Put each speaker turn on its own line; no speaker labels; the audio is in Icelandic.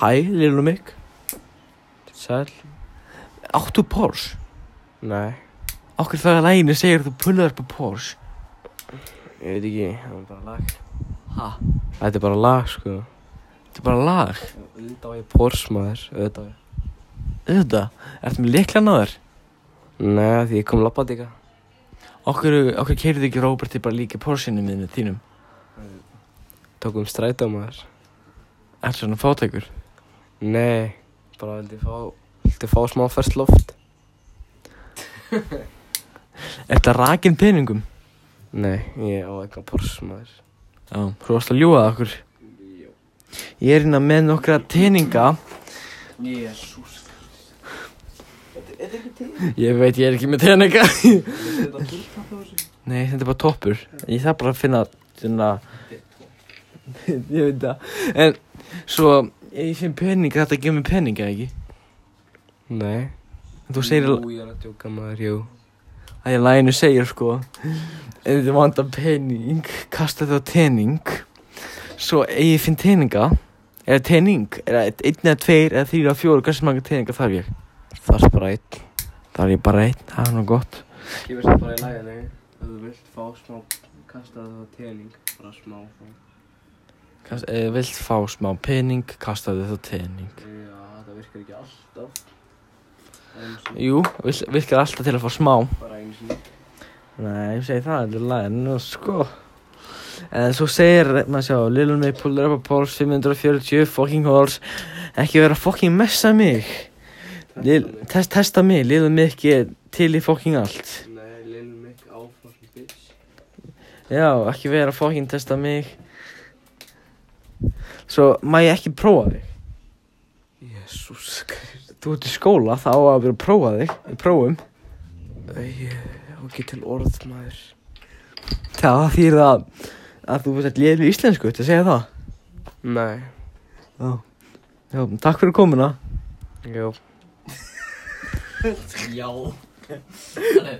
Hæ, Lillu Mikk
Sæl
Áttu Porsche?
Nei
Okkur fyrir að læginu segir þú pullar upp á Porsche
Ég veit ekki Það er bara lag
Ha?
Þetta er bara lag sko
Þetta er bara lag
Auðvitað á ég Porsche maður Auðvitað á ég
Þetta, ertu með leiklan á þér?
Nei því ég kom labbað líka
Okkur, okkur keirðu ekki Róberti bara líka Porschinu minni þínum
Tókum um strætó maður
Er svona fátækur
Nei Bara vildi fá Vildi fá smá fyrst loft
Ertu að rakin peningum?
Nei Ég á eitthvað Porsche maður
Já, þú varst að ljúga að okkur
Jó
Ég er hérna með nokkra teninga
Jésús
Ég veit, ég er ekki með teninga
Þetta er þetta fullt
Nei, þetta er bara toppur Ég þarf bara að finna svona, Ég veit það En svo, ég finn peninga Þetta gefur mér peninga, ekki?
Nei
En Þú segir
Jú ég er að djóka maður Jú
að ég læginu segir sko Ef þið vanda pening Kasta þetta á tening Svo ef ég finn teninga Eða tening, eða einn eða tveir Eða þrýra, fjóru, hversu manga teninga þarf ég
Það er bara einn
Það er ég bara einn, það er nú gott
Ég veist bara í laginu Ef þú vilt fá smá Kasta það á telning Bara smá
Kast, Ef þið eh, vilt fá smá pening Kasta þetta á tening
Já það virkar ekki alltaf Eins
Jú, vil- virkar alltaf til að fá smá
Bara eins og
Nei, ég segi það, þetta er lægin Nú sko En svo segir, maður sjá, Lil May pullar upp á Porsche 540 fucking horse Ekki vera að fucking messa mig Lil, test, testa mig, Lil May ekki er til í fucking allt
Nei, Lil Mick áfram bitch
Já, ekki vera að fucking testa mig Svo má ég ekki prófa þig
Jésús
Þú ert í skóla, þá á að vera að prófa þig Við prófum
Ég á ekki til orð maður
Það þýr það að þú veist að liður í íslensku, þetta segja það
Nei
Já Já, takk fyrir komuna
Jó
Já